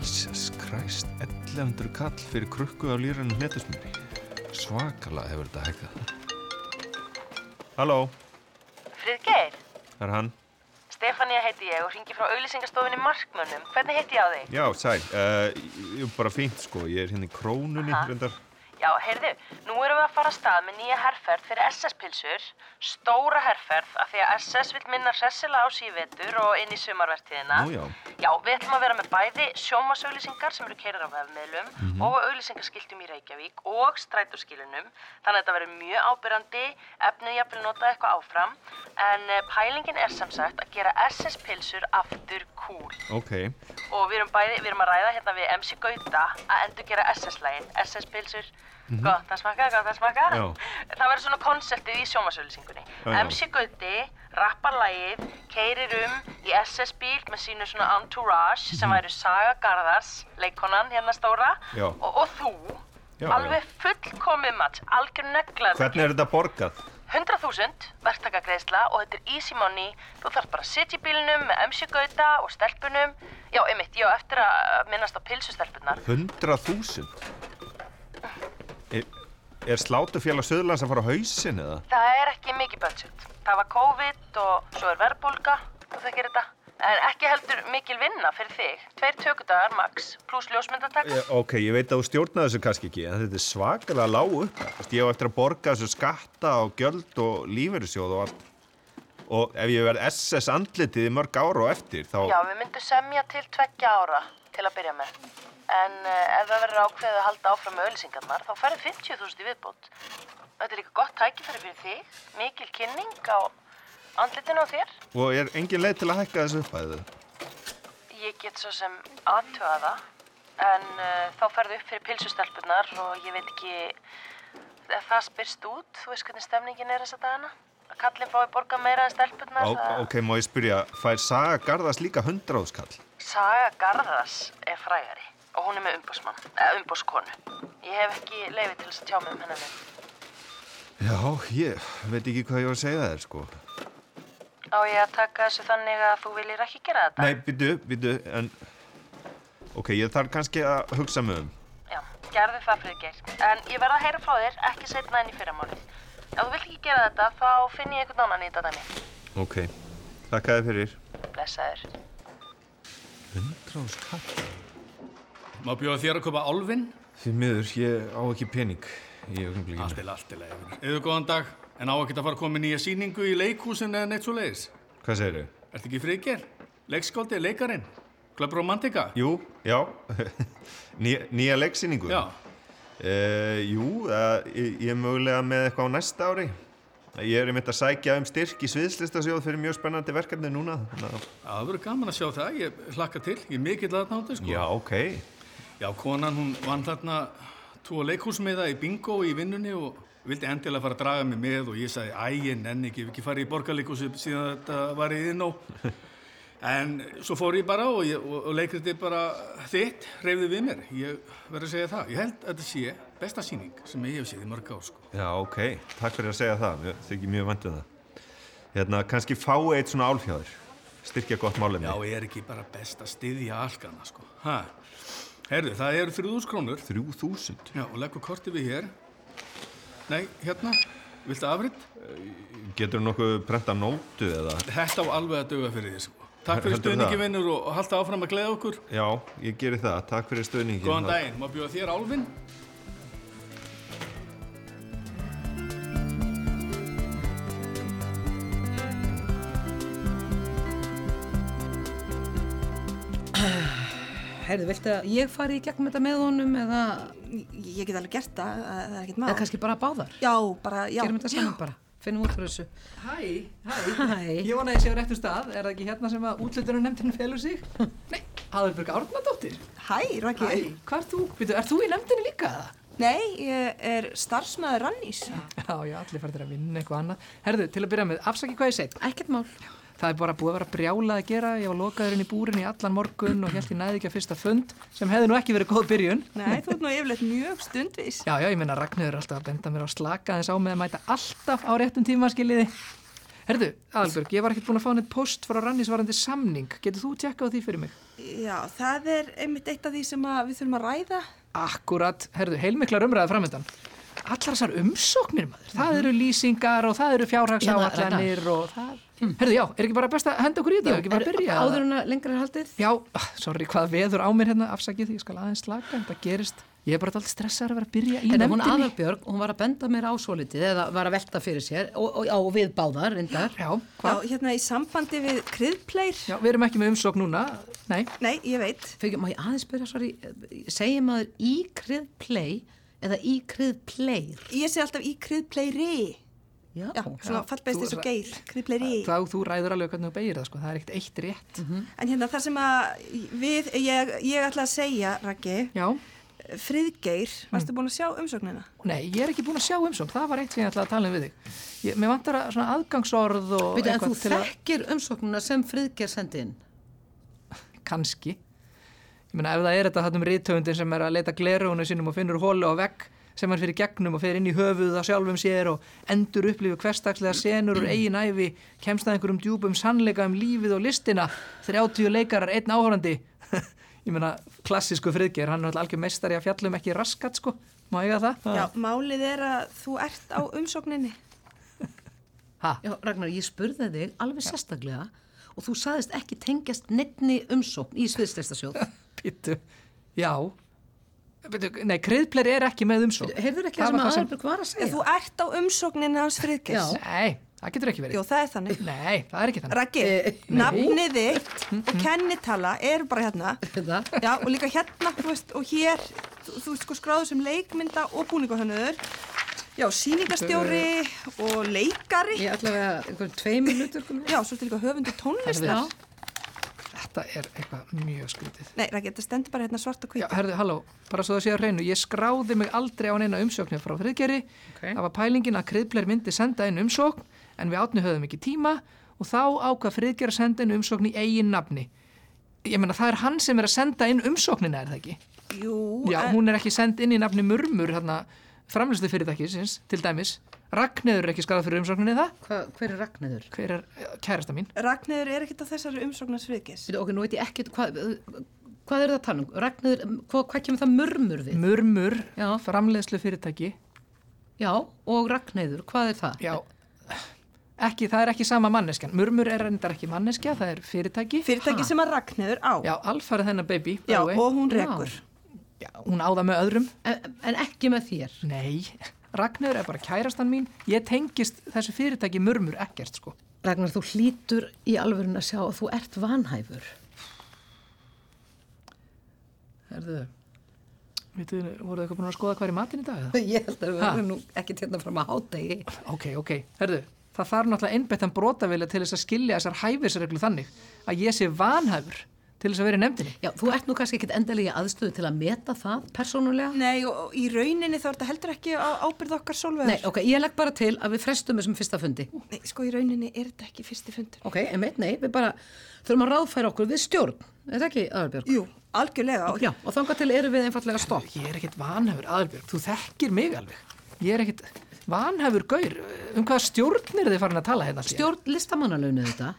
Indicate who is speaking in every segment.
Speaker 1: Jesus Christ, 1100 kall fyrir krukku á lýranum hnetusmjöri. Svakalega hefur þetta hækkað. Halló,
Speaker 2: Friðgeir,
Speaker 1: það er hann.
Speaker 2: Stefania heiti ég og ringi frá auðlýsingastofinni Markmönnum. Hvernig heiti ég á þig?
Speaker 1: Já, sæl, uh, ég er bara fínt sko, ég er hérna í krónunni
Speaker 2: Aha.
Speaker 1: reyndar.
Speaker 2: Já, heyrðu, nú erum við að fara að stað með nýja herrferð fyrir SS-pilsur, stóra herrferð, af því að SS vil minna hressilega á síðvetur og inn í sumarvertíðina.
Speaker 1: Nú já.
Speaker 2: Já, við ætlum að vera með bæði sjómasauðlýsingar sem eru keirar á vefmiðlum
Speaker 1: Mhm.
Speaker 2: og auðlýsingaskiltum í Reykjavík og strætóskilunum. Þannig að þetta verður mjög ábyrrandi, efnið jafnvel notað eitthvað áfram, en eh, pælingin er sem sagt að gera SS-pilsur aftur cool.
Speaker 1: Ok,
Speaker 2: Og við erum bæði, við erum að ræða hérna við MC Gauta að endur gera SS-lægin, SS-pilsur, gott að smaka, gott að smaka.
Speaker 1: Mhm. Já.
Speaker 2: Það verður svona konseptið í sjómasölusingunni.
Speaker 1: Já, já.
Speaker 2: MC Gauti rappar lægið, keirir um í SS-bíl með sínu svona entourage sem væri Saga Garðars, leikonan hérna stóra,
Speaker 1: Mhm. Já.
Speaker 2: og, og þú.
Speaker 1: Já,
Speaker 2: Alveg fullkomið match, algjör neglar.
Speaker 1: hvernig er þetta borgað?
Speaker 2: 100.000 verktakagreðsla og þetta er easy money. Þú þarf bara að sitja í bílnum með MC-gauta og stelpunum. Já, einmitt, ég á eftir að minnast á pilsustelpunar.
Speaker 1: 100.000? Er, er slátufélag Suðurlands að fara á hausin eða?
Speaker 2: Það er ekki mikið budget. Það var COVID og svo er verðbólga, þú þekkir þetta. En ekki heldur mikil vinna fyrir þig. Tveir tökudagar max, pluss ljósmyndataks.
Speaker 1: Ég, ok, ég veit að þú stjórnaði þessu kannski ekki, en þetta er svakalega lág upp. Vist, ég á eftir að borga þessu skatta og gjöld og lífeyrissjóð og allt. Og ef ég verð SS andlitið í mörg ára og eftir, þá...
Speaker 2: Já, við myndum semja til tveggja ára til að byrja með. En uh, ef það verður ákveðið að halda áfram með ölsingarnar, þá færðu 50.000 í viðbót. Þetta er líka gott tækifæri fyrir þig, mikil kynning á andlitinu á þér.
Speaker 1: Og er engin leið til að hækka þessu upphæðu.
Speaker 2: Ég get svo sem aðtöða það, en uh, þá færðu upp fyrir pilsustelpunar og ég veit ekki, ef það spyrst út, þú veist hvernig stemningin er þessa dagana. Að kallinn fái borga meira en stelpunar.
Speaker 1: Ó,
Speaker 2: það-
Speaker 1: ok, má ég spyrja, fær Saga Garðas líka 100 áskall?
Speaker 2: Saga Garðars er frægari og hún er með umbósmann, eða umbóskonu. Ég hef ekki leiði til þess að tjá mig um hennar minn.
Speaker 1: Já, ég veit ekki hvað ég var að segja þér, sko.
Speaker 2: Á ég að taka þessu þannig að þú viljir ekki gera þetta?
Speaker 1: Nei, býtu, býtu, en... Ok, ég þarf kannski að hugsa mig um.
Speaker 2: Já, gerðu það fyrir geir. En ég verð að heyra frá þér, ekki setna enn í fyrramálið. Ef þú vilt ekki gera þetta, þá finn ég einhvern annan í þetta dæmi.
Speaker 1: Ok, þakka þér fyrir.
Speaker 2: Blessaður.
Speaker 1: 100 áskall?
Speaker 3: Má bjóða þér að kaupa álfin?
Speaker 1: Því miður, ég á ekki pening í augnablikinu.
Speaker 3: Allt er allt er leið. Eða góðan dag, en á ekkert að fara að koma með nýja sýningu í leikhúsin eða neitt svo leiðis.
Speaker 1: Hvað segir þau?
Speaker 3: Ertu ekki friðger? Leikskóldi, leikarinn? Klöp romantika?
Speaker 1: Jú, já, Ný, nýja leiksýningu.
Speaker 3: Já,
Speaker 1: Eh, jú, það, ég, ég er mögulega með eitthvað á næsta ári. Ég er einmitt að sækja um styrk í sviðslistasjóð fyrir mjög spennandi verkefni núna. þannig að-
Speaker 3: Já, það verður gaman að sjá það, ég hlakka til, ég er mikill aðnáttu sko.
Speaker 1: Já, ok.
Speaker 3: Já, konan hún vann þarna tvo leikhúsmiða í bingo í vinnunni og vildi endilega fara að draga mig með og ég sagði, æ, ég nenni ekki, ég hef ekki farið í borgarleikhúsi síðan þetta var í þinn og... En svo fór ég bara og, ég- og, og leikritið bara þitt reyfði við mér, ég verður að segja það. Ég held að þetta sé besta sýning sem ég hef séð í mörg ár sko.
Speaker 1: Já, ok. Takk fyrir að segja það. Mér þykir mjög vandum það. Hérna, kannski fá eitt svona álfjáður. Styrkja gott málefni.
Speaker 3: Já, er ekki bara best að styðja algana sko. Ha, herðu, það eru 3000 krónur.
Speaker 1: Þrjú þúsund.
Speaker 3: Já, og leggur kortið við hér. Nei, hérna, viltu afrið?
Speaker 1: Getur nokkuð prenta nótu eða?
Speaker 3: Þetta á alveg að döga fyrir því, sko. Takk fyrir
Speaker 1: Heldur það?
Speaker 3: stuðningi vinnur og og halda áfram að gleða okkur.
Speaker 1: Já, ég geri það. Takk fyrir stöðningin.
Speaker 3: Góðan daginn, má bjóða þér álfinn?
Speaker 4: Herðu, viltu að ég fari í gegnum þetta með honum eða,
Speaker 5: Ég ég get alveg gert það, það það er ekkert
Speaker 4: eða
Speaker 5: mál.
Speaker 4: kannski bara báðar?
Speaker 5: Já, bara, já.
Speaker 4: Gerum þetta saman bara, finnum út frá þessu.
Speaker 6: Hæ, hæ,
Speaker 4: Hæ.
Speaker 6: ég vona að ég sé á réttum stað, er það ekki hérna sem að útlutununemndinu felur sig? Nei, Aðalbjörg Árnadóttir.
Speaker 5: Hæ, Raki.
Speaker 6: Hæ, hvað er þú? Býtu, er þú í nefndinu líka?
Speaker 5: Nei, ég er starfsmaður rannís.
Speaker 6: Já, já, allir færðir að vinna eitthvað annað. Herðu, til að byrja með, afsaki hvað ég segi.
Speaker 4: Ekkert mál.
Speaker 6: Það er bara búið að vera brjálað að gera, ég var lokaður inn í búrin í allan morgun og held ég næði ekki að fyrsta fund, sem hefði nú ekki verið góð byrjun.
Speaker 5: Nei, þú ert nú yfirleitt mjög stundvis.
Speaker 6: Já, já, ég meina Ragnhjörður er alltaf að benda mér á slaka þess á með að mæta alltaf á réttum tíma skiljiði. Herðu, Aðalbjörg, ég var ekkert búin að fá neitt post frá rannisvarandi samning. Getur þú tjekkað á því fyrir mig?
Speaker 5: Já, það er einmitt eitt af því sem að við þurfum að ræða.
Speaker 6: Akkurat, herðu, heilmiklar umræða framöndan. Allar þessar umsóknir, maður. Það eru lýsingar og það eru Hérna,
Speaker 4: Hérna,
Speaker 6: fjárhagsáallanir og það... Herðu, já, er ekki bara best að henda okkur í þetta? Er ekki bara að byrja?
Speaker 4: Hmm. áður en að lengra er haldið
Speaker 6: Já, ah, sorry, hvað veður á mér hérna, afsakið, ég skal aðeins slaka, en það gerist. Ég er bara alltaf stressaður að vera að byrja í
Speaker 4: En hún
Speaker 6: nefndinni.
Speaker 4: aðalbjörg, hún var að benda mér á svolítið eða var að velta fyrir sér og, og, og við báðar, reyndar.
Speaker 6: Já,
Speaker 5: Já,
Speaker 6: hvað?
Speaker 5: hérna í sambandi við kryðpleir.
Speaker 6: Já, við erum ekki með umsókn núna, nei.
Speaker 5: Nei, ég veit.
Speaker 4: Fyrir, má ég aðeins byrja, sorry, segir maður í krið play eða í krið playr?
Speaker 5: Ég sé alltaf í kryðpleiri.
Speaker 4: Já,
Speaker 5: Já, svona fallbeist eins og geir, kryðpleiri.
Speaker 6: Þá þú ræður alveg hvernig þú beigir það, sko, það er ekkert eitt rétt.
Speaker 4: Mhm.
Speaker 5: En hérna þar sem að við, ég, ég ætla að segja, Raggi,
Speaker 6: Já, Mm.
Speaker 5: friðgeir, varstu búin að sjá umsóknina?
Speaker 6: nei, ég er ekki búin að sjá umsókn, það var eitt sem ég ætlaði að tala um við þig. Ég, mér vantar að, svona aðgangsorð og
Speaker 4: Veitu, en þú
Speaker 6: til að...
Speaker 4: þekkir umsóknuna sem friðger sendi inn?
Speaker 6: Kanski. Ég meina, ef það er þetta þarna um rithöfundin sem er að leita glerunum sínum og finnur hólu á vegg sem hann fyrir gegnum og fer inn í höfuð á sjálfum sér og endur upplifu hverstagslega senur úr eigin æfi, kemst að einhverjum djúpum sannleika um lífið og listina, 30 leikarar, einn áhorandi. ég meina, klassísku friðger, hann er alltaf algjör meistari að fjallum ekki raskat, sko. Má ég að það?
Speaker 5: Já, málið er að þú ert á umsókninni.
Speaker 6: Ha?
Speaker 4: Já, Ragnar, ég spurði þig alveg sérstaklega og þú saðist ekki tengjast nefni umsókn í sviðsleistasjóð.
Speaker 6: Pítu, já. Pítu, nei, kriðpleri er ekki með umsókn.
Speaker 4: Heyrður ekki það
Speaker 6: Það
Speaker 4: sem
Speaker 6: var það sem-
Speaker 4: aðalbjörg var að segja?
Speaker 5: Þú ert á umsókninni hans friðgeirs.
Speaker 4: Já.
Speaker 6: Nei, það getur ekki verið.
Speaker 5: Jó, það er þannig.
Speaker 6: Nei, það er ekki þannig.
Speaker 5: Raggi,
Speaker 4: Eh,
Speaker 5: nafnið þitt og kennitala eru bara hérna.
Speaker 4: Hérna.
Speaker 5: Já, og líka hérna, þú veist, og hér, þú, þú ert sko skráður sem leikmynda og búningahönnöður. Já, síningarstjóri og leikari.
Speaker 4: Ég allavega einhverjum tvei minútur komið.
Speaker 5: Já, svolítið líka höfundu tónlistar.
Speaker 4: Já,
Speaker 6: Þetta er eitthvað mjög skrítið.
Speaker 5: Nei, Raggi, þetta stendur bara hérna svart og
Speaker 6: Já,
Speaker 5: hvít.
Speaker 6: herðu, halló, bara svo það sé að reynu, ég skráði mig aldrei á neina umsóknir frá friðgeri,
Speaker 4: Ok.
Speaker 6: það var pælingin að kriðbler myndi senda inn umsókn, en við átni höfðum ekki tíma og þá ákvað friðgeri að senda inn umsókn í eigin nafni. Ég meina, það er hann sem er að senda inn umsóknina, er það ekki?
Speaker 5: Jú,
Speaker 6: Já,
Speaker 5: en-
Speaker 6: hún er ekki send inn í nafni Murmur, þarna, framlýslu fyrirtækisins, til dæmis. Ragnheður er ekki skarað fyrir umsókninni það?
Speaker 4: hva, hver er Ragnarður?
Speaker 6: Hver er eh, kærasta mín?
Speaker 5: Ragnhildur er ekkert á þessari umsóknarsviðgis.
Speaker 4: Við, ok, nú veit ég ekkert hvað, hvað er það að tala um? Ragnar, hvað, hvað kemur það mörmur við?
Speaker 6: Murmur,
Speaker 4: Já.
Speaker 6: framleiðslu fyrirtæki,
Speaker 4: Já, og Ragnarður, hvað er það?
Speaker 6: Já, ekki, það er ekki sama manneskjan. Murmur er reyndar ekki manneskja, það er fyrirtæki.
Speaker 5: Fyrirtæki
Speaker 4: Ha?
Speaker 5: sem að Ragnhildur á.
Speaker 6: Já, alfarið hennar baby. by
Speaker 5: Já,
Speaker 6: the way.
Speaker 5: og hún rekur.
Speaker 6: Já, hún áða með öðrum.
Speaker 4: En, en ekki með þér.
Speaker 6: Nei, Ragnar er bara kærastan mín. Ég tengist þessu fyrirtæki murmur ekkert, sko.
Speaker 4: Ragnar, þú hlýtur í alvörun að sjá að þú ert vanhæfur. Herðu,
Speaker 6: Vitið, þið, voruð þið eitthvað búin að skoða hvað er í matinn í dag? Eða?
Speaker 4: ég held að við
Speaker 6: Ha?
Speaker 4: verðum nú ekki térna fram að hádegi.
Speaker 6: Ok, ok, herðu, það þarf náttúrulega einbettan brotavilja til þess að skilja þessar hæfisreglu þannig að ég sé vanhæfur til þess að vera í nefndinni.
Speaker 4: Já, þú ert nú kannski ekkit endilega í aðstöðu til að meta það persónulega.
Speaker 5: Nei, og og í rauninni þá er þetta heldur ekki á ábyrð okkar solvegar.
Speaker 4: Nei, ok, ég legg bara til að við frestum þessum fyrsta fundi.
Speaker 5: Nei, sko í rauninni er þetta ekki fyrsti fundur.
Speaker 4: Ok, einmitt, nei, við bara þurfum að ráðfæra okkur við stjórn, er það ekki, Aðalbjörg?
Speaker 5: Jú, algjörlega. og-
Speaker 4: Já, og þangað til erum við einfallega stopp.
Speaker 6: Ég er ekkert vanhæfur, aðalbjörg, þú þekkir mig alveg. Ég er ekkert vanhæfur gaur, um hvaða stjórnir þið farin að tala hérna? allt í einu?
Speaker 4: Stjórn listamannalauninu þetta,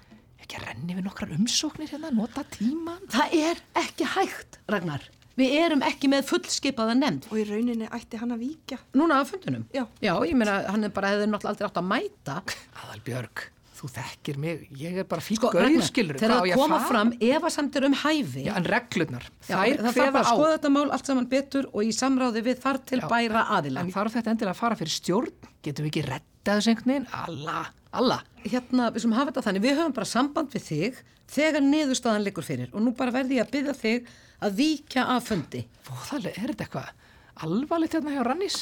Speaker 6: Ekki að renni við nokkrar umsóknir hérna, nota tíman.
Speaker 4: það er ekki hægt, Ragnar. Við erum ekki með fullskipaða nefnd.
Speaker 5: Og í rauninni ætti hann að víkja.
Speaker 4: Núna á fundunum?
Speaker 5: Já.
Speaker 4: ég meina, hann er bara hefði náttúrulega aldrei átt að mæta.
Speaker 6: Aðalbjörg, þú þekkir mig, ég er bara fín
Speaker 4: Sko,
Speaker 6: gaur,
Speaker 4: Ragnar,
Speaker 6: skilur
Speaker 4: þegar það koma fram efasemtir um hæfi,
Speaker 6: Já, en reglurnar,
Speaker 4: Já,
Speaker 6: þær
Speaker 4: það þarf
Speaker 6: kveða
Speaker 4: bara að
Speaker 6: á.
Speaker 4: skoða þetta mál allt saman betur og í samráði við þar til
Speaker 6: Já,
Speaker 4: bæra aðila.
Speaker 6: En þarf þetta endilega að fara fyrir stjórn? Getum við ekki rettað þessu einhvern veginn? Ah, Alla, alla.
Speaker 4: hérna, við sem hafa þetta þannig, við höfum bara samband við þig þegar niðurstaðan liggur fyrir og nú bara verði ég að byggja þig að víkja af fundi.
Speaker 6: Fóðalega, er þetta eitthvað alvarlegt hérna hjá Rannis?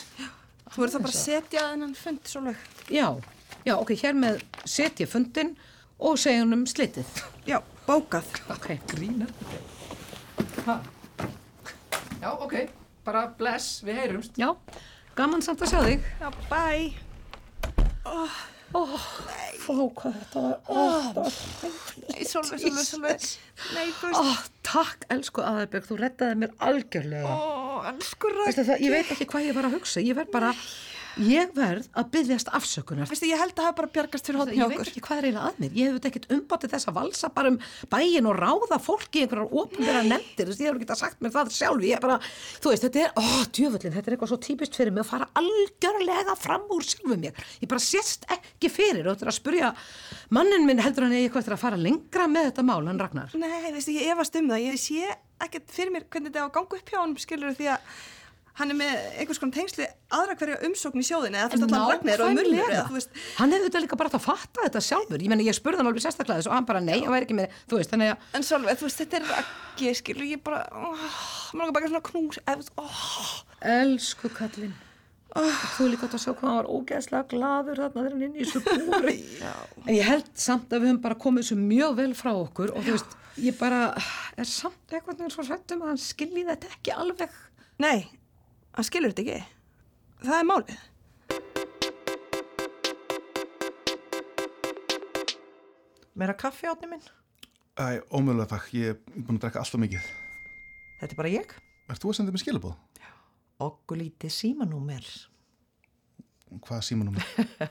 Speaker 5: Þú verður þá bara að setja að hennan fund, solveg.
Speaker 4: Já, já, ok, hér með setja fundin og segja hún um slitið.
Speaker 5: Já, bókað.
Speaker 4: Ok,
Speaker 6: Grínar þetta. Ha? Já, ok, bara bless, við heyrumst.
Speaker 4: já, gaman samt að sjá þig.
Speaker 5: Já, bæ.
Speaker 4: Ó, hvað þetta var, ó, þetta var.
Speaker 5: Nei, solveg, solveg, solveg. Nei, þú
Speaker 4: Ó,
Speaker 5: veist,
Speaker 4: takk, elsku aðerbjörg, þú rettaði mér algjörlega.
Speaker 5: ó, elsku
Speaker 4: Veistu
Speaker 5: rætt.
Speaker 4: það, ég veit ekki hvað ég var að hugsa, ég verð bara, Ég verð að byggjast afsökunar.
Speaker 5: Veistu, ég held að hafa bara bjargast fyrir
Speaker 4: Ég
Speaker 5: hotni
Speaker 4: veit
Speaker 5: okkur.
Speaker 4: ekki hvað er eiginlega að mér. Ég hef auðvitað ekkert umbáttið þess að valsa bara um bæin og ráða fólki í einhverjar ofnbæra nefndir. Þú veist, Ég hef ekki sagt mér það sjálf. Ég er bara, þú veist, þetta er, ó, djöfullin, þetta er eitthvað svo típist fyrir mig að fara algjörlega fram úr sjálfu mér. Ég bara sést ekki fyrir og þetta er að spurja mannin minn heldur hann eigi eitthvað eftir að fara lengra með þetta mál, hann Ragnar.
Speaker 5: Nei, veistu, ég efast um það. Ég sé ekkert fyrir mér hvernig þetta á að ganga upp hjá honum, skilur því að hann er með einhvers konar tengsli aðra hverja umsókn í sjóðinu eða fyrst allan ragnir og munnir eða, þú veist,
Speaker 4: Hann hefði þetta líka bara átt að fatta þetta sjálfur. Ég meina, ég spurði hann alveg sérstaklega þess og hann bara, nei, hann væri ekki með, þú veist, þannig að
Speaker 5: en Solveig, þú veist, þetta er ekki, skilur, ég bara, oh, maður langar bara eitthvað svona knús, eða, þú veist, oh,
Speaker 4: Elsku kallinn.
Speaker 5: Ah.
Speaker 4: Þú líka átt að sjá hvað hann var ógeðslega gladur þarna þegar hann inn í þessu búri. en ég held samt að við höfum bara komið þessu mjög vel frá okkur og þú veist, ég bara er samt eitthvað veginn svo hrættum að hann skilji þetta ekki alveg.
Speaker 5: nei, hann skilur þetta ekki. Það er málið.
Speaker 7: Meira kaffi átni minn?
Speaker 8: Æ, ómögulega takk, ég er búin að drekka alltaf mikið.
Speaker 7: Þetta er bara ég.
Speaker 8: Er þú að senda mér skilabóð?
Speaker 7: Okkur lítið símanúmer.
Speaker 8: Hvað um símanum?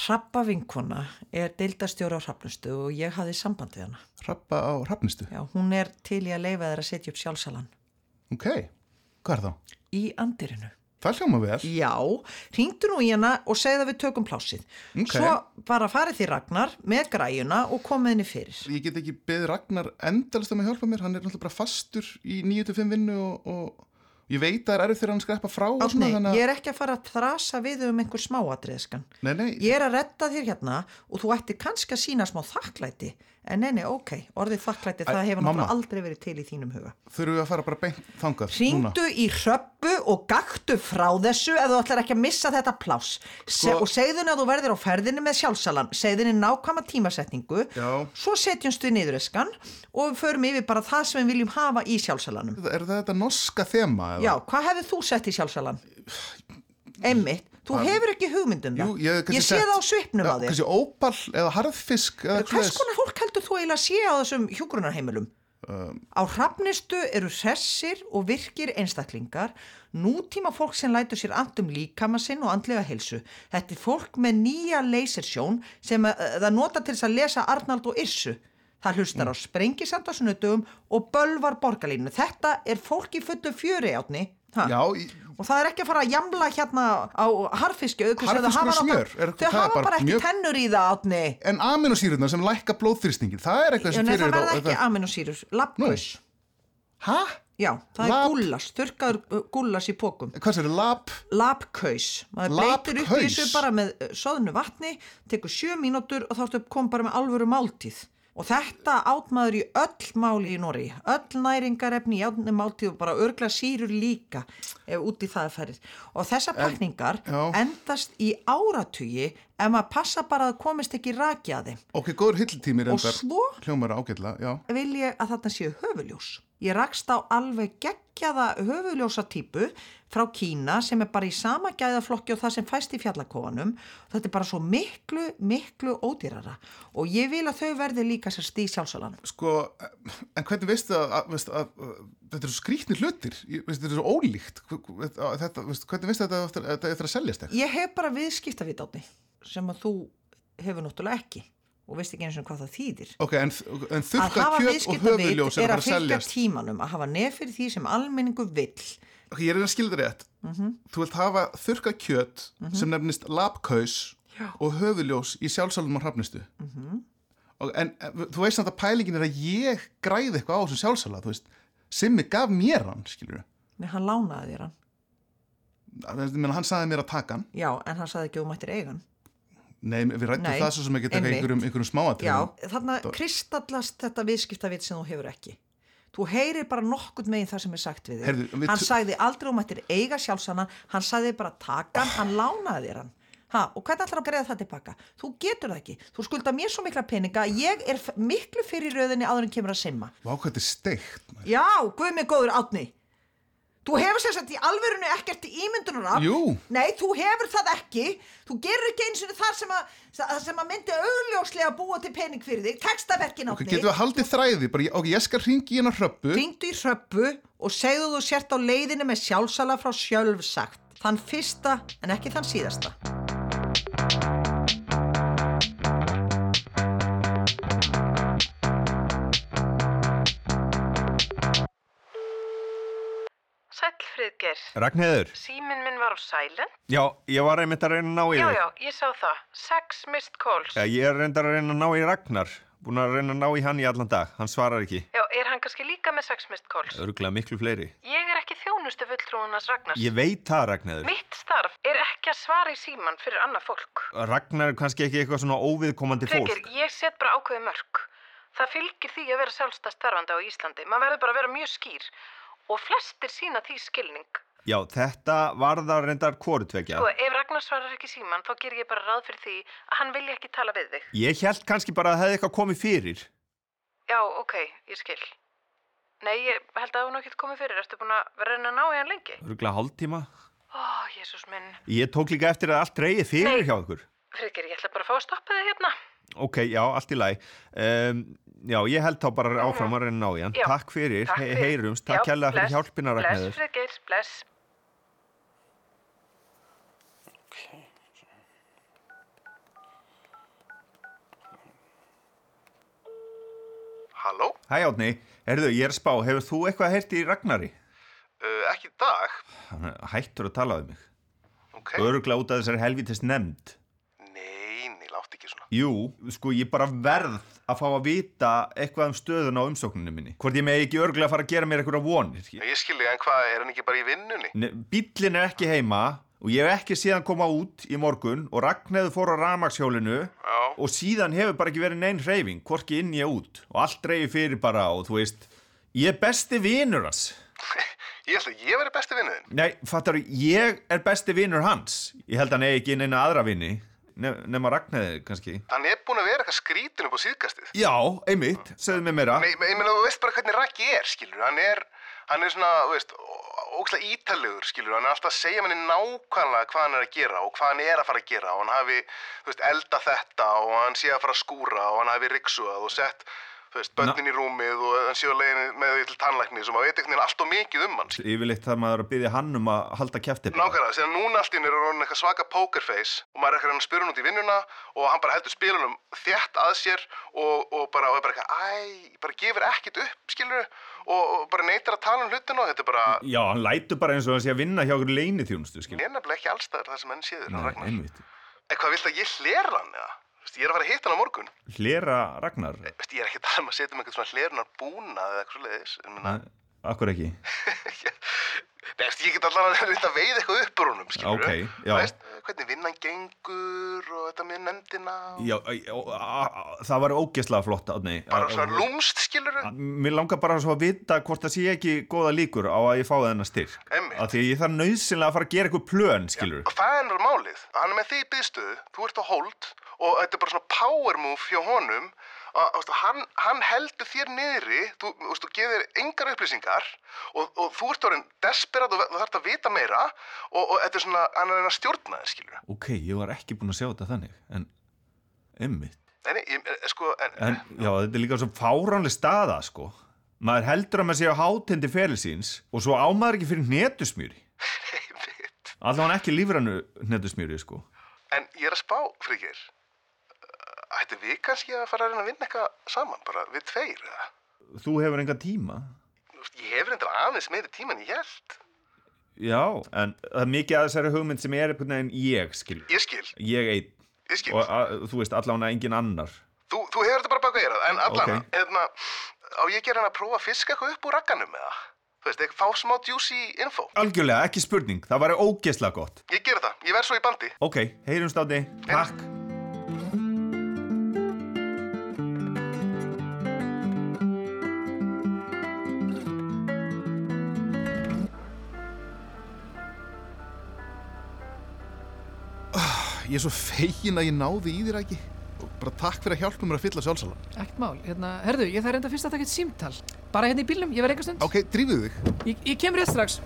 Speaker 7: Hrappa vinkona er deildastjóra á Hrafnustu og ég hafði samband við hana.
Speaker 8: Rappa á rafnistu?
Speaker 7: Já, hún er til í að leifa þær að setja upp sjálfsalan.
Speaker 8: Ok, hvað er þá?
Speaker 7: Í andirinu.
Speaker 8: Það hljóma vel.
Speaker 7: Já, hringdu nú í hana og segðu að við tökum plásið.
Speaker 8: Ok.
Speaker 7: Svo bara farið því Ragnar með græjuna og komið henni fyrir.
Speaker 8: Ég get ekki beðið Ragnar endalist um að hjálpa mér, hann er náttúrulega bara fastur í 9-5 vinnu og, og ég veit að það er erfið þegar hann skreppa frá og
Speaker 7: Átni,
Speaker 8: svona þannig
Speaker 7: ég er ekki að fara að þrasa við um einhver smáatriðskan.
Speaker 8: Nei, nei,
Speaker 7: Ég er að retta þér hérna og þú ætti kannski að sína smá þakklæti. En nei, nei, ok, orðið þakklæti,
Speaker 8: Æ,
Speaker 7: það hefur
Speaker 8: mamma.
Speaker 7: náttúrulega aldrei verið til í þínum huga.
Speaker 8: þurfum við að fara bara beint þangað
Speaker 7: Hringdu í hröppu og gaktu frá þessu ef þú ætlar ekki að missa þetta pláss Se
Speaker 8: Sko-
Speaker 7: og segðu henni að þú verðir á ferðinni með sjálfsalan segðu henni nákvæma tímasetningu
Speaker 8: Já.
Speaker 7: svo setjumst við niður eskan og við förum yfir bara það sem við viljum hafa í sjálfsalanum
Speaker 8: Er það þetta norska þema? eða?
Speaker 7: Já, hvað hefur þú sett í sjálfsalan? Emmitt, þú hefur ekki hugmyndum
Speaker 8: Jú,
Speaker 7: það
Speaker 8: ég, hef kannski
Speaker 7: sé
Speaker 8: sett-
Speaker 7: það á svipnum
Speaker 8: Já,
Speaker 7: á þér
Speaker 8: Kannski ópall eða harðfisk eða
Speaker 7: Hvers
Speaker 8: svoleiðis.
Speaker 7: konar fólk heldur þú eiginlega að sé á þessum hjúgrunarheimilum?
Speaker 8: Um.
Speaker 7: á hrafnistu eru hressir og virkir einstaklingar, nútíma fólk sem lætur sér allt um líkama sinn og andlega heilsu. Þetta er fólk með nýja leysersjón sem að, það nota til þess að lesa Arnald og Issu. Það hlustar
Speaker 8: Mm.
Speaker 7: á sprengisand á sunnudum og bölvar borgarlínu. Þetta er fólk í fullu fjöri átni. Ha?
Speaker 8: Já, í-
Speaker 7: Og það er ekki að fara að jamla hérna á harfiski
Speaker 8: Harðfiskur og smjör, er-
Speaker 7: Þau
Speaker 8: það er
Speaker 7: hafa
Speaker 8: bara
Speaker 7: bara ekki
Speaker 8: mjög-
Speaker 7: tennur í það átni
Speaker 8: en aminosýruna sem lækka blóðþrýstingin, það er eitthvað
Speaker 7: Já,
Speaker 8: sem
Speaker 7: nei,
Speaker 8: fyrir
Speaker 7: það
Speaker 8: á-
Speaker 7: verða ekki
Speaker 8: það-
Speaker 7: aminosýrur, labgus
Speaker 8: Hæ?
Speaker 7: Já, það
Speaker 8: Lab-
Speaker 7: er gullas, þurkaður uh, gullas í pókum
Speaker 8: Hvað sér, lab?
Speaker 7: Labkaus, maður beitir upp í
Speaker 8: Labkaus?
Speaker 7: þessu bara með uh, soðnu vatni tekur sjö mínútur og þá ertu kom bara með alvöru máltíð og þetta átmaður í öll máli í Nóri öll næringarefni í átni máltíð og bara örgla sírur líka ef út í það er ferið og þessar pakningar
Speaker 8: já.
Speaker 7: endast í áratugi ef maður passa bara að komist ekki raki að þeim
Speaker 8: Ok, góður hilltími
Speaker 7: Og
Speaker 8: reyndar.
Speaker 7: svo?
Speaker 8: Hljómar ágætla, já.
Speaker 7: vil ég að þarna séu höfuljós. Ég rakst á alveg geggjaða höfuljósa típu frá Kína sem er bara í sama gæðaflokki og það sem fæst í fjallakofanum. Þetta er bara svo miklu, miklu ódýrara og ég vil að þau verði líka sérst í sjálfsalanum.
Speaker 8: Sko, en hvernig veistu að, að, veistu að, að þetta eru svo skrýtnir hlutir, Ég- veistu, þetta eru svo ólíkt, Hv- hv- að þetta, veistu, hvernig veistu að þetta á eftir- að þetta eftir að seljast ekki?
Speaker 7: Ég hef bara viðskiptavit átni sem að þú hefur náttúrulega ekki og veist ekki eins og hvað það þýðir.
Speaker 8: Ok, en, en
Speaker 7: Að
Speaker 8: þurrka
Speaker 7: hafa
Speaker 8: kjöt og höfuljós
Speaker 7: viðskiptavit
Speaker 8: er að
Speaker 7: er að
Speaker 8: fara að
Speaker 7: fylgja
Speaker 8: seljast.
Speaker 7: tímanum að hafa nef fyrir því sem almenningu vill.
Speaker 8: Ok, ég er að skilja þetta rétt. Þú vilt hafa þurrka kjöt
Speaker 7: Mhm.
Speaker 8: sem nefnist labkaus og höfuljós í sjálfsálum á hrafnistu.
Speaker 7: Mhm.
Speaker 8: og, en en þú veist samt að pælingin er að ég græði eitthvað á þessum sjálfsála, þú veist, Simmi gaf mér hann, skilur
Speaker 7: Nei, hann lánaði þér hann.
Speaker 8: við. Hann saði mér að taka hann.
Speaker 7: Já, en hann saði ekki um mættir eigan.
Speaker 8: Nei, við rættum
Speaker 7: Nei,
Speaker 8: það svo sem ekki taka
Speaker 7: einmitt.
Speaker 8: einhverjum, einhverjum smáatriðum.
Speaker 7: Já, þarna kristallast þetta viðskiptavit sem þú hefur ekki. Þú heyrir bara nokkurt megin það sem er sagt við þig.
Speaker 8: Heyrðu, við
Speaker 7: hann
Speaker 8: tu-
Speaker 7: sagði aldrei um að þetta er eiga sjálfsana, hann sagði bara taka hann, hann lánaði þér hann. Ha, og hvernig ætlar að greiða það tilbaka? Þú getur það ekki. Þú skulda mér svo mikla peninga, ég er f- miklu fyrir í röðinni áður en kemur að simma.
Speaker 8: Vá, hvað þetta er steikt. maður.
Speaker 7: Já, guð mig góður átni. Þú hefur sér sagt í alverinu ekkert ímyndunar af.
Speaker 8: Jú.
Speaker 7: Nei, þú hefur það ekki. Þú gerir ekki eins og þar sem að, það sem að myndi augljóslega búa til pening fyrir þig. Tekstaverkin
Speaker 8: Ok,
Speaker 7: átni.
Speaker 8: getum við haldið þræði, bara, ég- ok, ég skal ringi í hennar hröppu.
Speaker 7: Ringdu í hröppu og segðu þú sért á leiðinu með sjálfsala frá sjálfsagt. Þann fyrsta en ekki þann síðasta.
Speaker 9: Sæll, Friðger.
Speaker 1: Ragnheður,
Speaker 9: Símin minn var á silent.
Speaker 1: já, ég var einmitt að reyna að ná í
Speaker 9: Já,
Speaker 1: þig.
Speaker 9: já, ég sá það. Sex missed calls.
Speaker 1: Já, ég er reyndar að reyna að ná í Ragnar. Búin að reyna að ná í hann í allan dag. Hann svarar ekki.
Speaker 9: Já, er hann kannski líka með sex missed calls?
Speaker 1: Örglega miklu fleiri.
Speaker 9: Ég er ekki þjónustu fulltrúunars Ragnars.
Speaker 1: Ég veit það, Ragnheður.
Speaker 9: Mitt starf er ekki að svara í síman fyrir annað fólk.
Speaker 1: Ragnar er kannski ekki eitthvað svona óviðkomandi
Speaker 9: Friðger,
Speaker 1: fólk.
Speaker 9: ég set bara ákveði mörg. Það fylgir því að vera sjálfstæð starfandi á Íslandi. Maður verður bara að vera mjög skýr. Og flestir sína því skilning.
Speaker 1: Já, þetta var það reyndar kvorutvekja.
Speaker 9: Sko, ef Ragnar svarar ekki í síman, þá ger ég bara ráð fyrir því að hann vilja ekki tala við þig.
Speaker 1: Ég held kannski bara að það hefði eitthvað komið fyrir.
Speaker 9: Já, ok, ég skil. Nei, ég held að hún ekkert komið fyrir. Ertu búin að vera að reyna að ná í hann lengi?
Speaker 1: Örglega hálftíma.
Speaker 9: Ó, Jésús minn.
Speaker 1: Ég tók líka eftir að allt reyði fyrir
Speaker 9: Nei.
Speaker 1: hjá okkur.
Speaker 9: Friðger, ég ætla bara að fá að stoppa þig hérna.
Speaker 1: Ok, já, allt í læg. Um, já, ég held þá bara áfram að reyna að ná í hann.
Speaker 9: Já.
Speaker 1: Takk fyrir,
Speaker 9: Takk
Speaker 1: He-
Speaker 9: fyrir.
Speaker 1: heyrumst. Takk
Speaker 9: Já,
Speaker 1: kærlega fyrir
Speaker 9: bless,
Speaker 1: hjálpina, Ragnheður.
Speaker 9: Bless, Friðgeir, bless.
Speaker 8: Halló?
Speaker 1: Hæ Átni, herðu, ég er að spá, hefur þú eitthvað heyrt í Ragnari?
Speaker 8: Uh, ekki í dag?
Speaker 1: Hann er hættur að tala um mig.
Speaker 8: Ok.
Speaker 1: Öruglega út af þessari helvítist nefnd.
Speaker 8: Nei, nei, látt ekki svona.
Speaker 1: Jú, sko, ég bara verð að fá að vita eitthvað um stöðun á umsókninu minni. Hvort ég megi ekki öruglega að fara að gera mér eitthvað vonir.
Speaker 8: Ég skilja, en hvað, er hann ekki bara í vinnunni?
Speaker 1: Bíllinn er ekki heima og ég hef ekki síðan koma út í morgun og Ragnarður fór á ramagshjólinu
Speaker 8: Já.
Speaker 1: og síðan hefur bara ekki verið neinn hreyfing, hvorki inn ég út og allt reyfi fyrir bara og þú veist, ég er besti vinur hans.
Speaker 8: Ég ætla, að ég veri besti vinnuðinn.
Speaker 1: Nei, fattar þú, ég er besti vinnur hans. Ég held að hann eigi ekki inn eina aðra vinni, nef nema Ragnæði kannski.
Speaker 8: Hann er búin að vera eitthvað skrítin upp á síðkastið.
Speaker 1: Já, einmitt, segðu mér meira.
Speaker 8: Nei, ég meina, þú veist bara hvernig Raki er, skilur. Hann er, hann er svona, þú veist, ókslega ítalegur, skilur. Hann er alltaf að segja manni nákvæmlega hvað hann er að gera og hvað hann er að fara að gera. Og hann hafi, þú veist, elda þetta og hann sé að fara að skúra og hann hafi riksuðað og sett, þú veist, börnin í rúmið og hann sé að leiðin með því til tannlæknis og maður veit einhvern veginn allt og mikið um hann, skilur.
Speaker 1: Yfirleitt þarf maður að byggja hann um að halda kæfti.
Speaker 8: Nákvæmlega, þegar núna allt í henni er hann eitthvað svaka pokerface og maður er eitthvað að spyrja hann út í vinnuna og hann bara heldur spilunum þétt að sér og, og bara, og er bara eitthvað, æ, bara gefur ekkert upp, skilur og, og bara neytar að tala um hlutin og þetta er bara,
Speaker 1: Já, hann lætur bara eins og hann sé að vinna hjá okkur leinithjónustu, skil.
Speaker 8: hann er nefnilega ekki allstaðar þar sem henn séður, hann Ragnar.
Speaker 1: einmitt.
Speaker 8: Eitthvað vilt að ég hlera hann eða? Þú veist, Ég er að fara að hitta hann á morgun.
Speaker 1: Hlera Ragnar,
Speaker 8: Þú veist, Ég er ekki að tala um að setja um eitthvað svona hlerunar búnað eða eitthvað svo leiðis.
Speaker 1: akkur ekki.
Speaker 8: Nei, veist, ég get allan að reynda að veið eitthvað upp úr honum, skilur
Speaker 1: Ókei, já.
Speaker 8: Veist, hvernig vinnan gengur og þetta með nefndina og...
Speaker 1: Já, æ, ó, a, a, það var ógeslega flott, Átni.
Speaker 8: bara svona lúmst skilur
Speaker 1: Mér langar bara svo að vita hvort það sé ekki góða líkur á að ég fá þennan styrk.
Speaker 8: Einmitt.
Speaker 1: Af Því að ég þarf nauðsynlega að fara að gera eitthvað plön, skilur.
Speaker 8: það er nú málið, hann er með þig í byggstöðu þú ert á hold og þetta er bara svona power move hjá honum að, ástu, hann, hann heldur þér niðri þú, ástu, þú gefir engar upplýsingar og, og þú ert orðin desperat og ve- þú þarft að vita meira og, og þetta er svona, hann er að reyna að stjórna þér skilur
Speaker 1: ok, ég var ekki búinn að sjá þetta þannig en einmitt
Speaker 8: en, ég, eh, sko, en,
Speaker 1: en já, þetta er líka svo fáránlega staða sko maður heldur að maður sé á hátindi ferilsins og svo á maður ekki fyrir netusmjúri allavega hann ekki lífrannu netusmjúri sko
Speaker 8: en ég er að spá fríkir ættum við kannski að fara að reyna að vinna eitthvað saman bara við tveir eða?
Speaker 1: þú hefur enga tíma
Speaker 8: Þú veist, ég hef reyndar aðeins meiri tíma en ég held
Speaker 1: já, en það er mikið að þessari hugmynd sem er einhvern veginn ég skil
Speaker 8: ég skil,
Speaker 1: ég einn
Speaker 8: ég skil
Speaker 1: og að, þú veist allavega engin annar
Speaker 8: Þú, þú hefur þetta bara baka eirað, en allan,
Speaker 1: Ok.
Speaker 8: hérna, á ég gera hann að prófa að fiska eitthvað upp úr ragganum eða? Þú veist, ekki fá smá juicy info.
Speaker 1: algjörlega, ekki spurning, það væri ógesla gott
Speaker 8: Ég gera það, ég verð svo í bandi.
Speaker 1: ok, heyrjumst átti, takk
Speaker 10: Ah, Ég er svo fegin að ég náði í þér ekki og bara takk fyrir að hjálpa mér að fylla sjálfsalan
Speaker 6: Ekkert mál, hérna, herðu, ég þarf reynda fyrst að taka eitt símtal Bara hérna í bílnum, ég verð eitthvað stund
Speaker 10: Ok, drífðu þig
Speaker 6: ég, ég kem rétt strax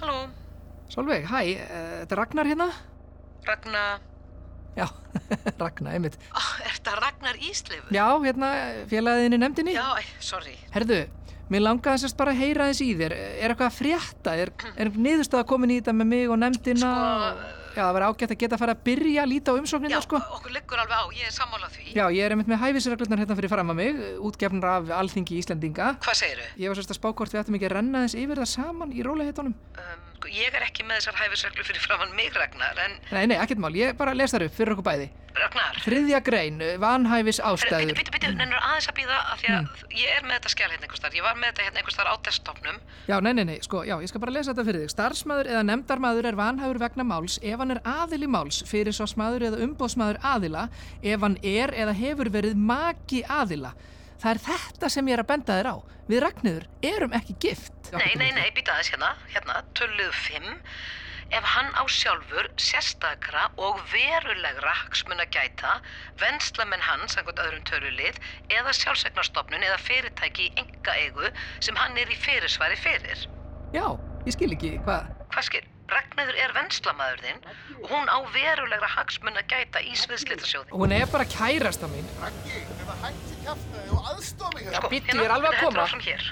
Speaker 9: Halló,
Speaker 6: Solveig, hæ, eh, þetta er Ragnar hérna
Speaker 9: Ragnar,
Speaker 6: Já, Ragnar, einmitt.
Speaker 4: Ó, er þetta Ragnar Ísleifur?
Speaker 6: Já, hérna félagðinni nefndinni.
Speaker 4: Já, æ, sorry.
Speaker 6: Herðu, mér langaði sérst bara að heyra þess í þér. Er eitthvað að frétta? Er, er niðurstaða komin í þetta með mig og nefndina? Sko... Já, það verður ágætt að geta að fara að byrja að líta á umsóknina,
Speaker 4: Já,
Speaker 6: sko.
Speaker 4: okkur liggur alveg á, ég er sammálað því.
Speaker 6: Já, ég er einmitt með hæfisreglurnar hérna fyrir fram að mig, útgefnur af Alþingi Íslendinga.
Speaker 4: Hvað segiru?
Speaker 6: Ég var sérst að spá hvort við ættum ekki að renna þess yfir það saman í róliheitunum.
Speaker 4: Um, ég er ekki með þessar hæfisreglu fyrir framann mig, Ragnar, en
Speaker 6: Nei, nei, ekkert mál, ég bara les þar upp fyrir okkur bæði.
Speaker 4: Ragnar,
Speaker 6: Þriðja grein, vanhæfis
Speaker 4: byttu,
Speaker 6: ástæður.
Speaker 4: byttu, byttu, nennur aðeins að býða af því að ég er með þetta skjál hérna einhvers þar, ég var með þetta hérna einhvers þar á desktopnum.
Speaker 6: Já, nei, nei, nei, sko, já, ég skal bara lesa þetta fyrir þig. Starfsmæður eða nefndarmæður er vanhæfur vegna máls ef hann er aðili máls fyrir svo smæður eða umbóðsmæður aðila ef hann er eða hefur verið maki aðila. Það er þetta sem ég er að benda þér á. Við Ragnhildur erum ekki gift.
Speaker 4: Nei, nei, nei, býta aðeins hérna, hérna, töluðu 5. Ef hann á sjálfur sérstakra og verulegra hagsmuna gæta, venslamenn hann, samkvæmt öðrum tölulið, eða sjálfsegnarstofnun eða fyrirtæki í enga eigu sem hann er í fyrirsvari fyrir.
Speaker 6: Já, ég skil ekki hvað.
Speaker 4: Hvað skil? Ragnæður er venslamaður þinn og hún á verulegra hagsmuna gæta í sviðslitasjóði.
Speaker 6: Hún er bara kærasta mín.
Speaker 11: Raggi, hefur hægt sér kæftnaði og aðstofi hérna.
Speaker 6: Bíddu, ég er alveg að koma.
Speaker 4: Sko, Þetta er hér.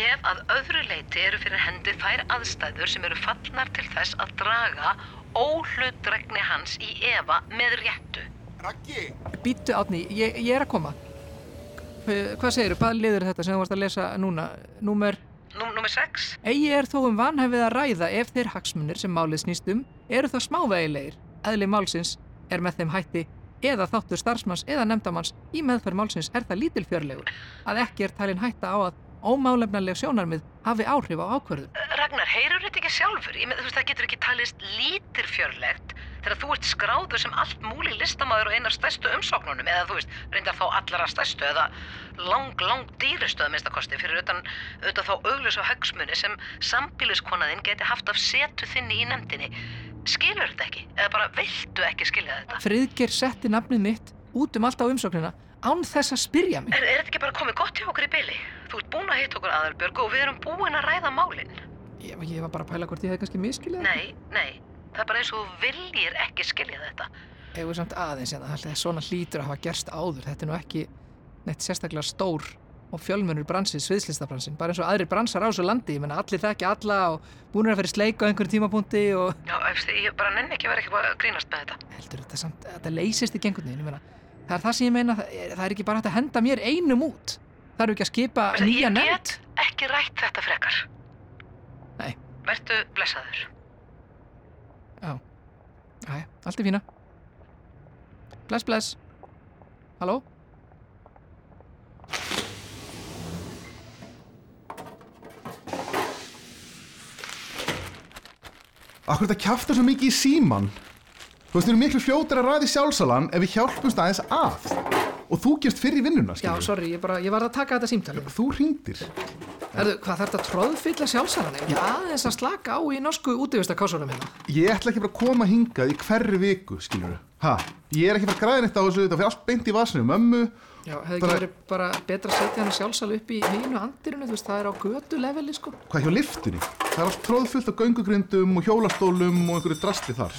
Speaker 4: Ef að öðru leiti eru fyrir hendi þær aðstæður sem eru fallnar til þess að draga óhlutregni hans í efa með réttu.
Speaker 11: Raggi,
Speaker 6: Býttu átni, ég, ég er að koma. H- Hvað segirðu, hvað liður þetta sem þú varst að lesa núna? Númer
Speaker 4: Nú, númer 6.
Speaker 6: Egi er þó um vanhæfið að ræða ef þeir hagsmunir sem málið snýst um eru þá smávegilegir. Eðli málsins er með þeim hætti eða þáttur starfsmanns eða nefndamanns í meðferð málsins er það lítilfjörlegur að ekki er talin hætta á að ómálefnarleg sjónarmið hafi áhrif á ákvörðun.
Speaker 4: Ragnar, heyrur þetta ekki sjálfur? Ég með þú veist, það getur ekki talist lítirfjörlegt þegar þú ert skráður sem allt múli listamaður og einar stærstu umsóknunum eða þú veist, reyndar þá allra stærstu eða lang, lang dýristu að minnsta kosti fyrir utan, utan þá augljus og högsmunni sem sambíluskonaðinn geti haft af setu þinni í nefndinni. Skilur þetta ekki? Eða bara viltu ekki skilja þetta?
Speaker 6: Friðger setti nafnið mitt út um allt á umsóknina án þess að spyrja mig.
Speaker 4: Er, er þetta ekki bara komið gott hjá okkur í byli? Þú ert búin að hitta okkur aðalbjörg og við erum búin að ræða málinn.
Speaker 6: Ég, ég var bara að pæla hvort ég hefði kannski miskiljað.
Speaker 4: Nei, nei, það er bara eins og þú viljir ekki skilja þetta.
Speaker 6: Egu samt aðeins en það svona hlýtur að hafa gerst áður. Þetta er nú ekki neitt sérstaklega stór og fjölmönur bransið, sviðslistafransin. Bara eins og aðrir bransar á svo landi. Ég menna allir þekkja alla og búinir að fara í sleik á einhverjum tímapunkti og
Speaker 4: Já, eftir, ég bara nenni ekki að vera eitthvað að grínast með þetta.
Speaker 6: heldur þetta samt, þetta leysist í gengundin. Ég menna, það er það sem ég meina, það er, það er ekki bara hægt að henda mér einum út. Það eru ekki að skipa
Speaker 4: Veistu,
Speaker 6: nýja
Speaker 4: ég
Speaker 6: nefnd.
Speaker 4: get ekki rætt þetta frekar.
Speaker 6: Nei.
Speaker 4: Vertu blessaður.
Speaker 6: Já, Æ, allt er fína. Bless, bless. Halló?
Speaker 8: Akkur þetta kjaftar svo mikið í síman Þú veist, við erum miklu fljótar að ræði sjálfsalan ef við hjálpumst aðeins að og þú gefst fyrir vinnuna,
Speaker 6: Já,
Speaker 8: skilur
Speaker 6: sorry, ég, bara, ég var að taka þetta símtalið.
Speaker 8: Þú hringdir
Speaker 6: Herðu, hvað þarf þetta að tróðfylla sjálfsalan ef ég aðeins að slaka á í norsku útífistakássunum hérna?
Speaker 8: Ég ætla ekki bara að koma hingað í hverri viku, skilur Ha, ég er ekki bara að græða neitt á þessu þetta fyrir allt beint í vasinu, mömmu
Speaker 6: Já, hefði ekki
Speaker 8: Bara-
Speaker 6: verið bara betra að setja hann sjálfsal upp í hínu andirinu, þú veist, það er á götu leveli, sko.
Speaker 8: Hvað hjá liftinni? Það er allt tróðfullt af göngugrindum og hjólastólum og einhverju drastli þar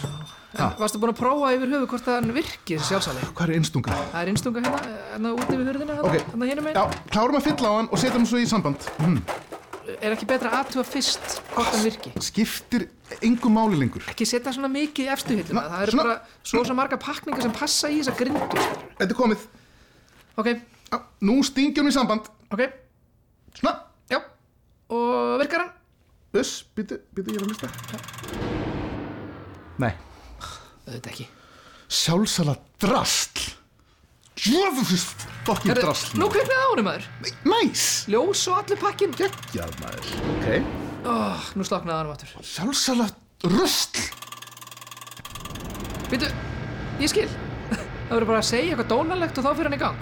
Speaker 8: Ha,
Speaker 6: Varstu búin að prófa yfir höfu hvort hann virkir sjálfsali?
Speaker 8: hvað er einstunga?
Speaker 6: Það er innstunga hérna, hérna út yfir hurðina, hérna,
Speaker 8: Ok,
Speaker 6: hérna
Speaker 8: já,
Speaker 6: hérna meginn.
Speaker 8: klárum að fylla á hann og setja hann svo í samband hm.
Speaker 6: Er ekki betra að aðtúa fyrst hvort hann virki?
Speaker 8: Skiptir engum máli lengur
Speaker 6: Ekki setja svona mikið í efstu hilluna,
Speaker 8: Na,
Speaker 6: það eru
Speaker 8: svona-
Speaker 6: bara svo svo marga pakningar sem passa í þessa grindu. skilurðu.
Speaker 8: Þetta er komið
Speaker 6: Ok,
Speaker 8: Já, Nú stingjum í samband
Speaker 6: ok,
Speaker 8: Svona,
Speaker 6: já, og virkar hann?
Speaker 8: uss, býtu, býtu, ég er að mista Nei
Speaker 6: Auðvitað ekki.
Speaker 8: Sjálfsala drastl Jöfnfis Fokkin
Speaker 6: Herðu,
Speaker 8: drastl
Speaker 6: Nú kviknaði ánum maður,
Speaker 8: Næs
Speaker 6: ljós og allir pakkin.
Speaker 8: Já maður Ok
Speaker 6: Oh, nú sloknaði hann áttur.
Speaker 8: Sjálfsala rusl
Speaker 6: Vitu, ég skil. Það verður bara að segja eitthvað dónalegt og þá fyrir hann í gang.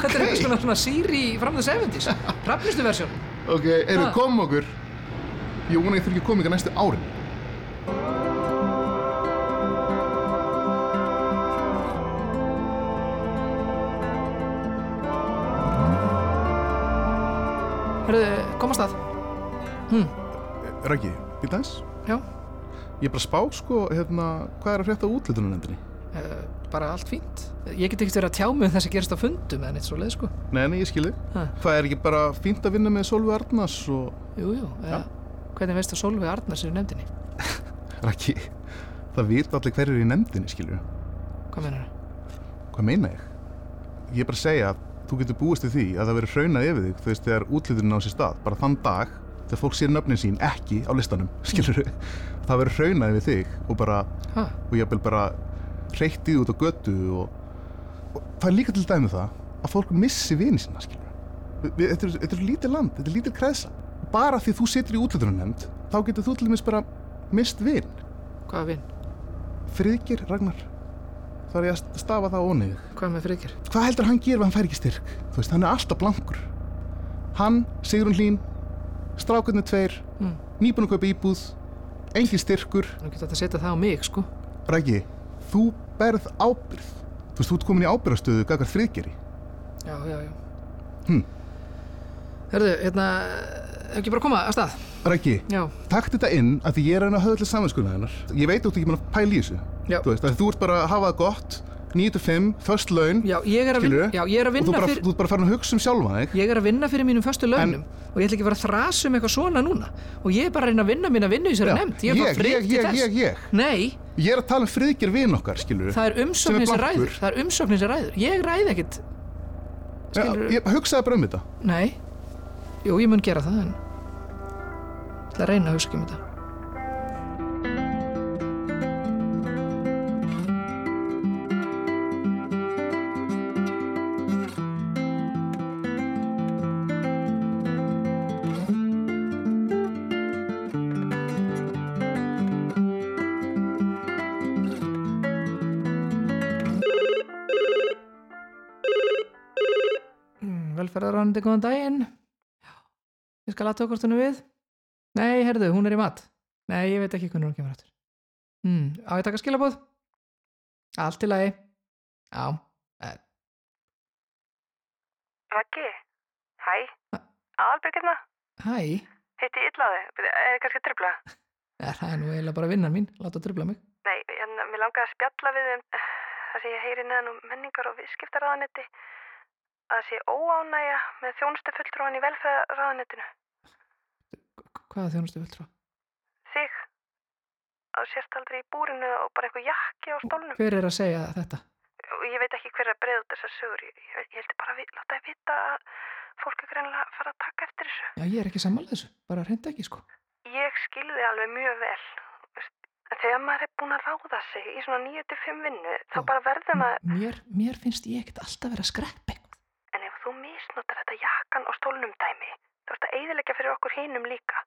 Speaker 6: Þetta er eitthvað svona, svona Siri fram þess efendis. Rafnistu versjón.
Speaker 8: Ok, eru
Speaker 6: Ha.
Speaker 8: kom okkur Ég vona að ég þurfi ekki að koma ykkur næstu árin
Speaker 6: Hörðu, komast að. Hm.
Speaker 8: Rækki, býta eins
Speaker 6: Já,
Speaker 8: Ég er bara að spá sko, hérna, hvað er að frétta á útlutunarnefndinni?
Speaker 6: uh, bara allt fínt ég get ekkert verið að tjá mig um það sem gerist á fundum eða neitt svo leið sko
Speaker 8: Nei, nei, ég skilji.
Speaker 6: Ha.
Speaker 8: Það er ekki bara fínt að vinna með Solvi Arnars og...
Speaker 6: jú, jú, eða, hvernig veist að Solveig Arnar sér nefndinni
Speaker 8: Raki, það vita allir hverjur í nefndinni, skilju.
Speaker 6: hvað menar það?
Speaker 8: Hvað meina ég? Ég er bara að segja að þú getur búist við því að það verður hraunað yfir þig þú veist þegar útluturinn á sér stað, bara þann dag þegar fólk sér nöfnin sín ekki á listanum, skilur það verður hraunað yfir þig og bara,
Speaker 6: Ha?
Speaker 8: og ég vil bara reyktið út á götu og, og það er líka til dæmi það að fólk missi vini sína, skilur við, þetta, er, þetta er lítið land, þetta er lítið kreðsa bara því þú situr í útluturinn nefnd þá getur þú til dæmis bara mist vin
Speaker 6: hvað vinn?
Speaker 8: friðgir Ragnar þá er ég að stafa það ónið
Speaker 6: hvað með fríkir?
Speaker 8: hvað heldur hann gerir ef hann fær ekki styrk þú veist, hann er alltaf blankur hann, Sigrun Hlín strákurnu tveir, mm. nýbúin að kaupa íbúð engin styrkur
Speaker 6: nú getur þetta að setja það á mig sko
Speaker 8: Raggi, þú berð ábyrð þú veist, þú ert komin í ábyrðastöðu gaggar þriðgeri
Speaker 6: já, já, já
Speaker 8: Hm.
Speaker 6: herðu, hérna ef ekki bara að koma að stað
Speaker 8: Raggi,
Speaker 6: já,
Speaker 8: takt þetta inn að því ég er að reyna að höfðlega samanskuna hennar ég veit að þú ert ekki maður að pæla í þessu
Speaker 6: Já.
Speaker 8: þú veist, að þú ert bara að hafa það gott 9-5, föst laun
Speaker 6: já, ég er að, vin,
Speaker 8: skilurðu?
Speaker 6: já, ég er að
Speaker 8: og þú,
Speaker 6: vinna
Speaker 8: bara,
Speaker 6: fyrir
Speaker 8: þú ert bara farin að hugsa um sjálfa þig
Speaker 6: Ég er að vinna fyrir mínum föstu launum og ég ætla ekki að vera að þrasa um eitthvað svona núna og ég er bara að reyna að vinna mín að vinna í sér
Speaker 8: Já.
Speaker 6: nefnd ég
Speaker 8: Ég,
Speaker 6: er bara
Speaker 8: ég,
Speaker 6: fritt til
Speaker 8: ég,
Speaker 6: þess
Speaker 8: ég, ég.
Speaker 6: Nei,
Speaker 8: ég er að tala um friðgir vin okkar, skilur
Speaker 6: það er umsóknin sem
Speaker 8: blankur.
Speaker 6: ræður það er umsóknin sem ræður, ég ræði ekkit skilurðu?
Speaker 8: ég hugsaði bara um þetta
Speaker 6: Nei, jú ég mun gera það en ætla að reyna að hugsa ekki um þetta Velferðaránandi, Mm, góðan daginn Já. Ég skal aðtöku hvort hún er við Nei, herðu, hún er í mat Nei, ég veit ekki hvernig hún kemur aftur hmm, Á ég að taka skilabóð? Allt í lagi Já, eh,
Speaker 12: Maggi, hæ, aðalbyrgirna,
Speaker 6: hæ
Speaker 12: heiti illaði, er kannski að dribla?
Speaker 6: Ja, Það er nú eiginlega bara vinnan mín, láta að dribla mig
Speaker 12: Nei, en mér langaði að spjalla við um eh, það sem ég heyri neðan um menningar og viðskiptaráðanetti að það sé óánægja með þjónustu fulltrúan í velferðaráðanettinu.
Speaker 6: Hvaða þjónustu fulltrúa?
Speaker 12: Þig, að þú sért aldrei í búrinu og bara einhver jakki á stólnum.
Speaker 6: Hver er að segja þetta?
Speaker 12: Og ég veit ekki hver er að breiða út þessar sögur. Ég, ég, ég heldur bara að vi- láta þið vita að fólk er greinlega að fara að taka eftir þessu.
Speaker 6: Já, ég er ekki sammála þessu, bara reynda ekki sko
Speaker 12: Ég skilði alveg mjög vel. veist, en Þegar maður er búin að ráða sig í svona 9-5 vinnu, þá
Speaker 6: Já.
Speaker 12: bara verður maður...
Speaker 6: Mér, mér finnst ég ekkert alltaf vera að skreppi
Speaker 12: En ef þú misnotar þetta jakkan og stólnum dæmi, þú ert að eiðilegja fyrir okkur hinum líka.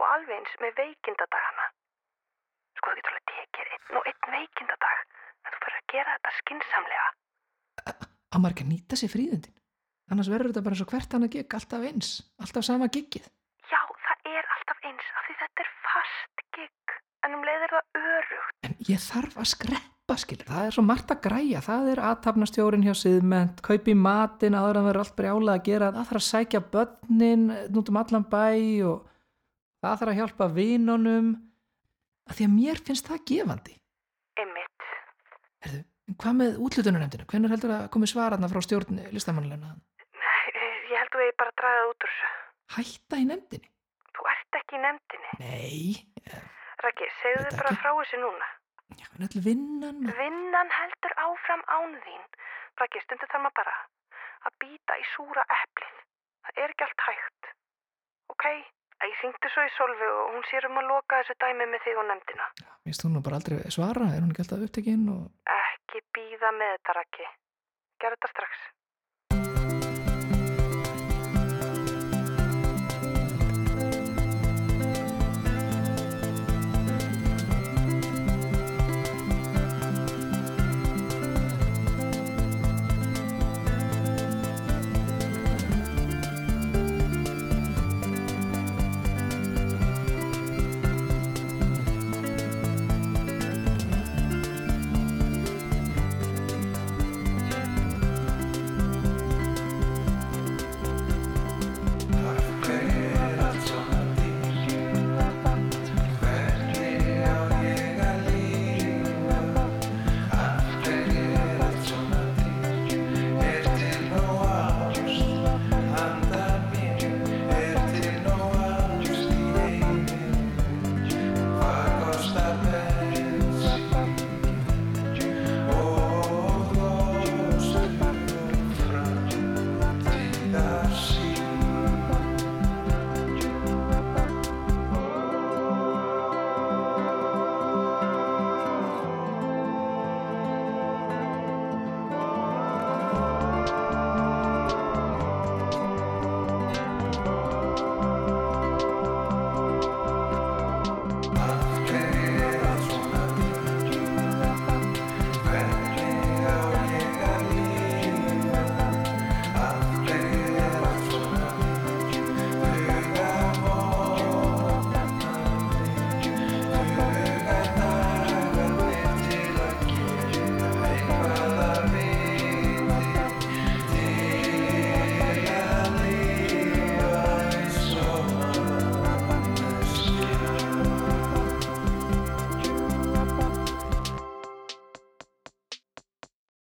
Speaker 12: Og alveg eins með veikindadagana. Sko, þú getur alveg tekið einn og einn veikindadag, en þú fyrir að gera þetta skinsamlega.
Speaker 6: að maður ekki að nýta sér fríðundin annars verður þetta bara eins og hvert annað gig alltaf eins, alltaf sama giggið
Speaker 12: Já, það er alltaf eins, af því þetta er fast gig, en um leið er það örugt.
Speaker 6: en ég þarf að skreppa skilur það er svo margt að græja, það er aðtapnastjórin hjá siðment, kaupi matinn áður en það er allt brjálað að gera, það þarf að sækja börnin út um allan bæ og það þarf að hjálpa vinunum að því að mér finnst það gefandi
Speaker 12: Einmitt.
Speaker 6: Herðu, en hvað með útlutunanemndinu, hvernig heldur að komi svararna frá stjórn listamannulegna
Speaker 12: Nei, ég held þú eigi bara að draga það út úr þessu.
Speaker 6: hætta í nefndinni?
Speaker 12: Þú ert ekki í nefndinni.
Speaker 6: Nei,
Speaker 12: Raki, segðu
Speaker 6: Þetta
Speaker 12: þið bara
Speaker 6: ekki.
Speaker 12: frá þessu núna.
Speaker 6: já, en öll vinnan maður.
Speaker 12: Vinnan heldur áfram án þín. Raki, stundu þarf maður bara að býta í súra eplið. Það er ekki allt hægt. Ok? Æ, Ég syngdi svo í Solvi og hún sér um að loka þessu dæmi með þig og nefndina.
Speaker 6: Mér finnst hún nú bara aldrei svara, er hún ekki alltaf upptekinn og
Speaker 12: Ekki býða með þetta, Raki. Gerðu þetta strax.